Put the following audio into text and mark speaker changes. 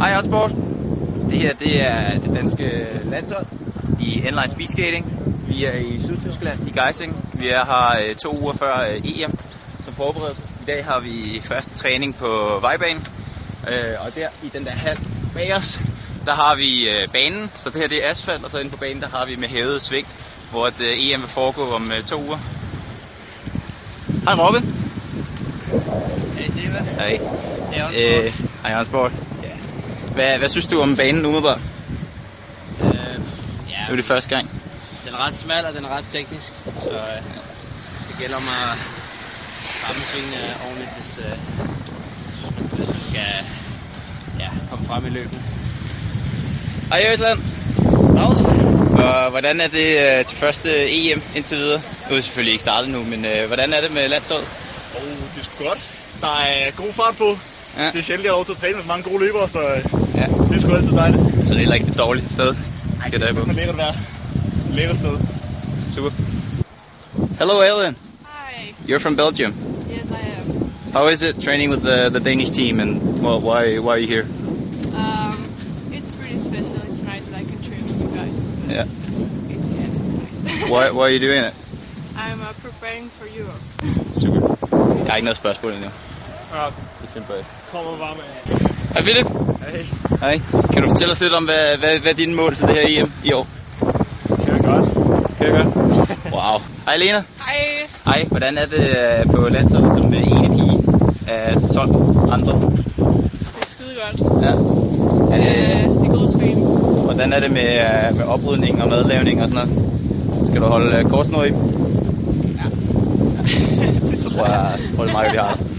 Speaker 1: Hej Hotsport. Det her det er det danske landshold i inline speed skating. Vi er i Sydtyskland i Geising. Vi er her øh, to uger før øh, EM som forberedelse. I dag har vi første træning på vejbanen. Øh, og der i den der hal bag os, der har vi øh, banen. Så det her det er asfalt, og så inde på banen der har vi med hævet sving, hvor at, øh, EM vil foregå om øh, to uger. Hej Robin.
Speaker 2: Hey Steve,
Speaker 1: Hej.
Speaker 2: det er Jørgen
Speaker 1: Øh, hej Hotsport.
Speaker 2: Ja.
Speaker 1: Hvad, hvad synes du om banen umiddelbart?
Speaker 2: Øh, ja,
Speaker 1: Det er jo det første gang.
Speaker 2: den er ret smal og den er ret teknisk, så øh, det gælder om at ramme svingene ordentligt, hvis, øh, hvis, man, hvis man skal ja, komme frem i løbet.
Speaker 1: Hej Jørgensland.
Speaker 2: Dags.
Speaker 1: Og hvordan er det øh, til første EM indtil videre? Nu er det selvfølgelig ikke startet nu, men øh, hvordan er det med landsholdet?
Speaker 3: Oh, det er sgu godt. Der er god fart på.
Speaker 1: Ja.
Speaker 3: Ja. Det er sjældent, jeg har lov til at træne med så mange gode løbere, så øh,
Speaker 1: Ja.
Speaker 3: det er sgu altid dejligt.
Speaker 1: Så det er heller ikke det dårligste sted. Ej, det er på.
Speaker 3: Det er lækkert at være. Lækkert sted.
Speaker 1: Super. Hello Ellen.
Speaker 4: Hi.
Speaker 1: You're from Belgium.
Speaker 4: Yes, I am.
Speaker 1: How is it training with the, the Danish team and well, why why are you here?
Speaker 4: Um, it's pretty special. It's nice that I can train with you guys.
Speaker 1: Yeah.
Speaker 4: It's yeah, nice.
Speaker 1: Why why are you doing it?
Speaker 4: I'm uh, preparing for Euros.
Speaker 1: Super. Jeg har ikke noget spørgsmål endnu.
Speaker 3: Ja.
Speaker 1: Det finder på.
Speaker 3: Kommer bare med.
Speaker 1: Hej Philip.
Speaker 3: Hey,
Speaker 1: Hej. Kan du fortælle os lidt om, hvad, hvad, hvad er dine mål til det her EM i år?
Speaker 3: det er godt.
Speaker 1: Kan jeg gøre? Wow. Hej Lena.
Speaker 4: Hi.
Speaker 1: Hej, hvordan er det øh, på landsholdet som øh, ene pige af 12 øh, andre?
Speaker 4: Det er skide godt.
Speaker 1: Ja. Er det,
Speaker 4: Øh, det er god træning.
Speaker 1: hvordan er det med, øh, med oprydning og madlavning og sådan noget? Skal du holde øh, kort snor i? Ja. det tror jeg, tror jeg meget, vi har.